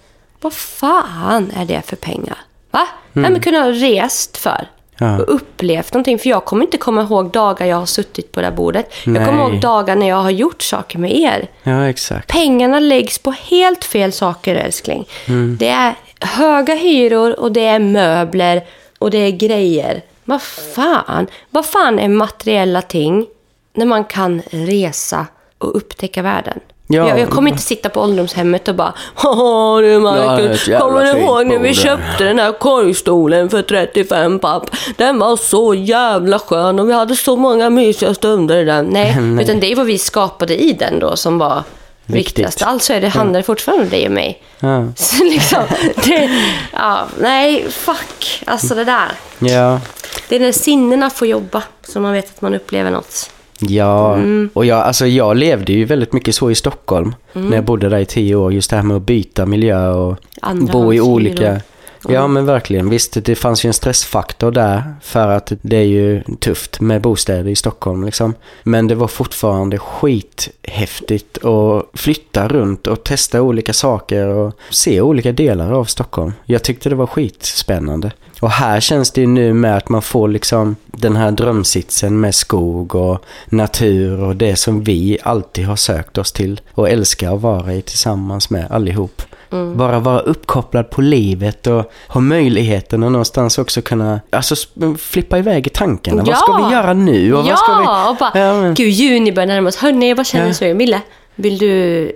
Vad fan är det för pengar? Va? Mm. men kunde ha rest för
Ja.
och upplevt någonting. För jag kommer inte komma ihåg dagar jag har suttit på det här bordet. Jag
Nej.
kommer ihåg dagar när jag har gjort saker med er.
Ja, exakt.
Pengarna läggs på helt fel saker, älskling.
Mm.
Det är höga hyror och det är möbler och det är grejer. Vad fan? Vad fan är materiella ting när man kan resa och upptäcka världen?
Ja.
Jag, jag kommer inte sitta på ålderdomshemmet och bara Haha du
Ja, det är
Marcus,
ett jävla
kommer du
fint
ihåg när vi
bord där."
köpte köpte den här korgstolen för 35 papp. Den var så jävla skön och vi hade så många mysiga stunder i den.
[laughs]
Nej, utan det är vad vi skapade i den då som var
Viktigt.
viktigast. Alltså är det handlar det fortfarande om dig och mig.
Ja.
Så liksom, det, ja, nej, fuck. Alltså det där.
Ja.
Det är när sinnena får jobba som man vet att man upplever något.
Ja, och jag, alltså jag levde ju väldigt mycket så i Stockholm när jag bodde där i tio år. Just det här med att byta miljö och
Andra
bo i
hands
olika...
hyror.
Ja men verkligen, visst det fanns ju en stressfaktor där för att det är ju tufft med bostäder i Stockholm liksom. Men det var fortfarande skithäftigt att flytta runt och testa olika saker och se olika delar av Stockholm. Jag tyckte det var skitspännande. Och här känns det ju nu med att man får liksom den här drömsitsen med skog och natur och det som vi alltid har sökt oss till och älskar att vara i tillsammans med allihop.
Mm.
Bara vara uppkopplad på livet och ha möjligheten att någonstans också kunna alltså, sp- flippa iväg i tankarna. Vad ska
Ja!
vi göra nu?
ja,
Och vad ska vi...
och bara,
Ja, men-
gud juni börjar närma sig. Hörni, jag bara känner
Ja.
så. Jag, Mille, vill du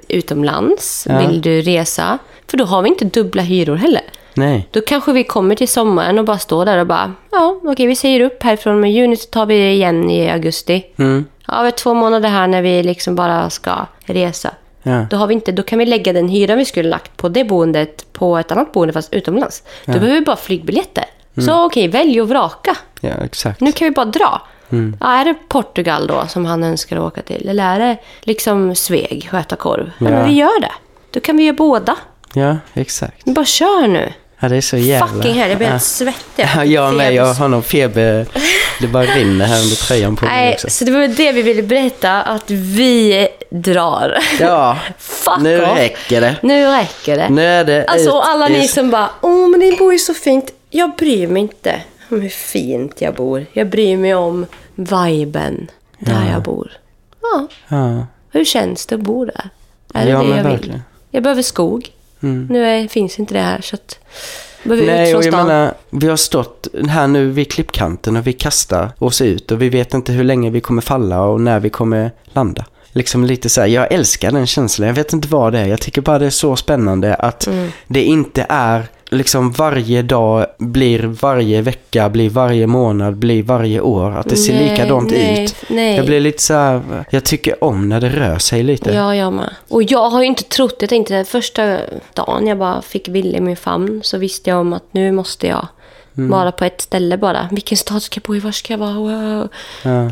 utomlands?
Ja.
Vill du resa? För då har vi inte dubbla hyror heller.
Nej.
Då kanske vi kommer till sommaren och bara står där och bara, ja okej vi säger upp härifrån med juni så tar vi det igen i augusti.
Mm.
Ja, vi har två månader här när vi liksom bara ska resa.
Ja.
Då, har vi inte, då kan vi lägga den hyran vi skulle lagt på det boendet på ett annat boende fast utomlands. Då behöver vi bara flygbiljetter.
Mm.
Så okej, välj och vraka.
ja, exakt.
Nu kan vi bara dra.
Mm.
Ja, är det Portugal då som han önskar att åka till? Eller är det liksom Sveg och äta korv? Ja.
Ja.
men vi gör det. Då kan vi göra båda.
Ja, exakt.
Vi bara kör nu.
Ja, det är så jävla...
Fucking här, jag blir
Ja.
helt svettig.
[laughs] Ja, jag med. Jag har någon feber. Det bara rinner här under tröjan på mig
Nej,
också.
så det var väl det vi ville berätta, att vi drar.
Ja,
[laughs] Fuck
nu
off.
räcker det.
Nu räcker det.
Nu är det
Alltså,
ut
och alla
i-
ni som bara, åh men ni bor ju så fint. Jag bryr mig inte om hur fint jag bor. Jag bryr mig om viben där jag bor. Ja,
Ja,
hur känns det att bo där? Är det
Ja,
det
men
jag vill?
verkligen. Mm.
Jag behöver skog. Nu är, finns inte det här, så att jag behöver ut
Nej,
från
och jag
stan.
menar, vi har stått här nu vid klippkanten och vi kastar oss ut och vi vet inte hur länge vi kommer falla och när vi kommer landa. Liksom lite så här, jag älskar den känslan, jag vet inte vad det är, jag tycker bara det är så spännande att
Mm.
det inte är liksom varje dag blir varje vecka, blir varje månad, blir varje år, att det ser
Nej,
likadant
nej,
ut.
nej.
Jag blir lite så här, jag tycker om när det rör sig lite.
Ja, jag med. Och jag har ju inte trott, jag tänkte den första dagen jag bara fick Ville i min famn så visste jag om att nu måste jag
Mm.
vara på ett ställe bara. Vilken stad ska jag bo i? Var ska jag vara? Wow.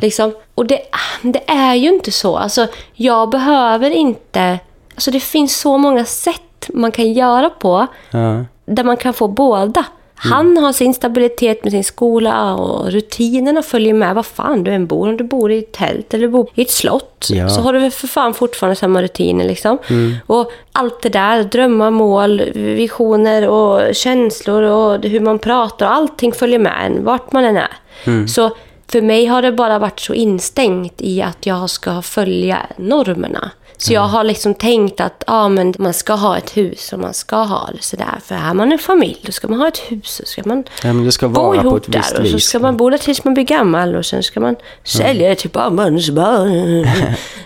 Liksom. Och det, det är ju inte så. Alltså, jag behöver inte... Alltså det finns så många sätt sätt man kan göra på
Ja. Mm.
där man kan få båda. Han har sin stabilitet med sin skola och rutinerna följer med. Vad fan du än bor, om du bor i ett tält eller bor i ett slott
Ja.
så har du väl för fan fortfarande samma rutiner. Liksom. Och allt det där, drömmar, mål, visioner och känslor och hur man pratar och allting följer med en vart man än är.
Mm.
Så för mig har det bara varit så instängt i att jag ska följa normerna. Så
Mm.
jag har liksom tänkt att ah, men man ska ha ett hus och man ska ha det sådär. För är man en familj då ska man ha ett hus och ska man
Ja, men det ska
bo
vara på
ihop
ett
där.
visst
Och så
vis.
ska man bo där tills man blir gammal och sen ska man sälja det till mammans barn.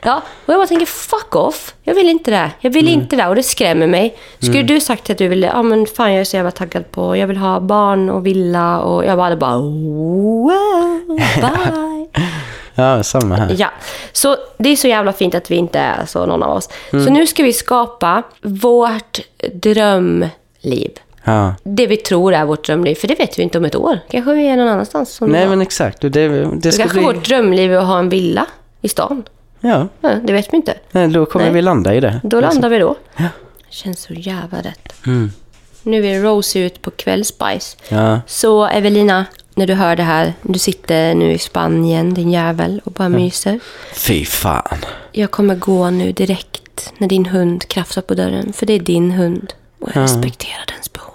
ja, och jag bara tänker fuck off. Jag vill inte det. Jag vill inte det och det skrämmer mig. Skulle du sagt att du ville, ja ah, men fan jag är så jävla taggad på, jag vill ha barn och villa och jag bara hade bara wow, bye.
Ja, samma här.
Ja, så det är så jävla fint att vi inte är så, någon av oss. Så nu ska vi skapa vårt drömliv.
Ja.
Det vi tror är vårt drömliv, för det vet vi inte om ett år. Kanske vi är någon annanstans. Som
Nej,
det
men exakt. Och Det, det ska
kanske
bli...
vårt drömliv är att ha en villa i stan.
Ja,
Ja, det vet vi inte.
Nej, då kommer
Nej.
vi landa i det.
Då landar vi då.
Alltså. Ja. Mm.
Känns så jävla rätt. Nu är Rosie ut på kvällsbajs.
Ja.
Så Evelina, när du hör det här, du sitter nu i Spanien, din jävel, och bara myser.
Fy fan.
Jag kommer gå nu direkt när din hund krafsar på dörren. För det är din hund. Och jag respekterar dens behov.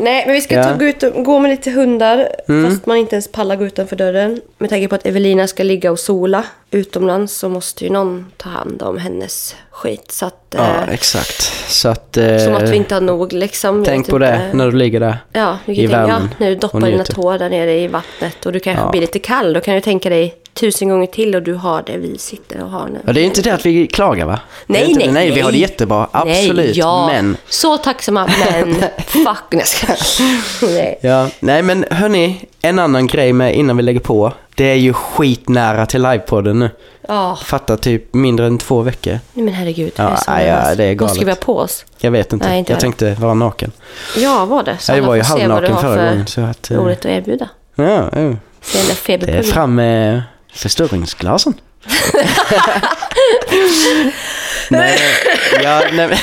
Nej, men vi ska
Ja. Mm.
ta, gå, ut och, gå med lite hundar. Fast man inte ens pallar gå utanför dörren. Med tanke på att Evelina ska ligga och sola utomlands så måste ju någon ta hand om hennes skit. Så att,
Ja,
eh,
exakt. Så att... Eh,
som att vi inte har nog liksom. Jag
Tänk
vet
på
inte.
det när du ligger där.
Ja, du kan
i
ju tänka, ja,
värmen
när du
och
doppar dina
njuter.
tår där nere i vattnet och du kanske
typ- Ja.
blir lite kall. Då kan du tänka dig tusen gånger till och du har det vi sitter och har nu.
Ja, det är inte det att vi klagar va? Det är
Nej,
inte,
nej,
nej. vi har det
nej.
jättebra, absolut.
Nej, ja.
Men...
Så tacksamma,
[laughs]
men fuck. Nej, jag skojar. Nej.
Ja, nej men hörni, en annan grej med innan vi lägger på. Det är ju skitnära till livepodden nu.
Ja,
Fattar typ mindre än två veckor.
nej men herregud.
Ja,
jag är så
aj,
nervös.
ja, det är galet.
Vad ska vi ha på oss?
Jag vet inte.
Nej, inte
jag
jag.
tänkte vara naken.
Ja, var det? Så
jag
alla
var ju
får se vad du
halvnaken
har
förra
för
gången. Så att, eh,
Roligt att erbjuda.
ja, ja.
Se den där
Det är
feberpungen.
fram med förstoringsglasen.
[laughs]
nej, ja, nej, men-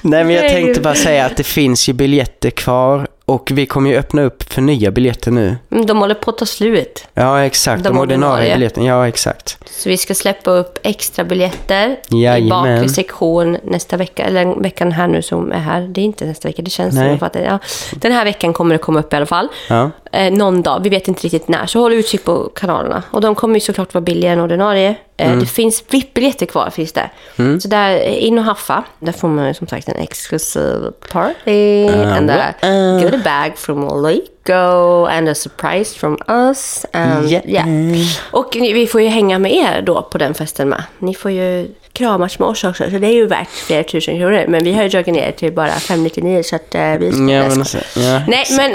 nej, men jag
Nej,
tänkte
Gud.
bara säga att det finns ju biljetter kvar och vi kommer ju öppna upp för nya biljetter nu.
Mm, De håller på att ta slut.
Ja, exakt.
De
De, ordinarie
ordinarie.
biljetterna. Ja, exakt.
Så vi ska släppa upp extra biljetter i
Jajamän.
bakre sektion nästa vecka. Eller veckan här nu som är här. Det är inte nästa vecka, det känns
Nej.
som att det, ja. Den här veckan kommer det komma upp i alla fall.
Ja.
Eh, någon dag, vi vet inte riktigt när. Så håll utkik på kanalerna. Och de kommer ju såklart vara billigare än ordinarie. Eh,
Mm.
Det finns VIP-biljetter kvar, finns det. Så där, eh, in och haffa. Där får man ju som sagt en exklusiv party.
Ah,
and a
wow.
goodie bag from Loico. And a surprise from us. And,
Yeah.
yeah. Och ni- vi får ju hänga med er då på den festen med. Ni får ju kramas med oss också, så det är ju värt flera tusen kronor. Men vi har ju dragit ner till bara 599 så att eh, vi ska...
Ja,
jag
men
skojar.
alltså, ja.
Nej,
[laughs]
men...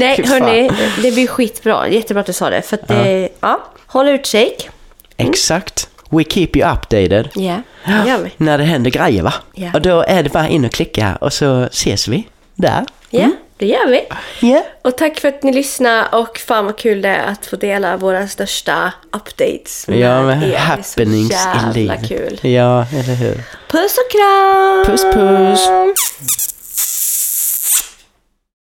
nej,
Fy fan.
hörni. Det blir skitbra. Jättebra att du sa det. För att det... Ja. Håll utkik.
Exakt. We keep you updated.
Ja, det gör vi.
När det händer grejer va?
Ja.
Och då är det bara in och klicka här och så ses vi där.
Ja, det gör vi.
Ja.
Och tack för att ni lyssnade och fan vad kul det är att få dela våra största updates med
Ja, men
er. Det är så
happenings i
jävla
livet.
kul.
Ja, eller hur.
Puss och kram!
Puss, puss.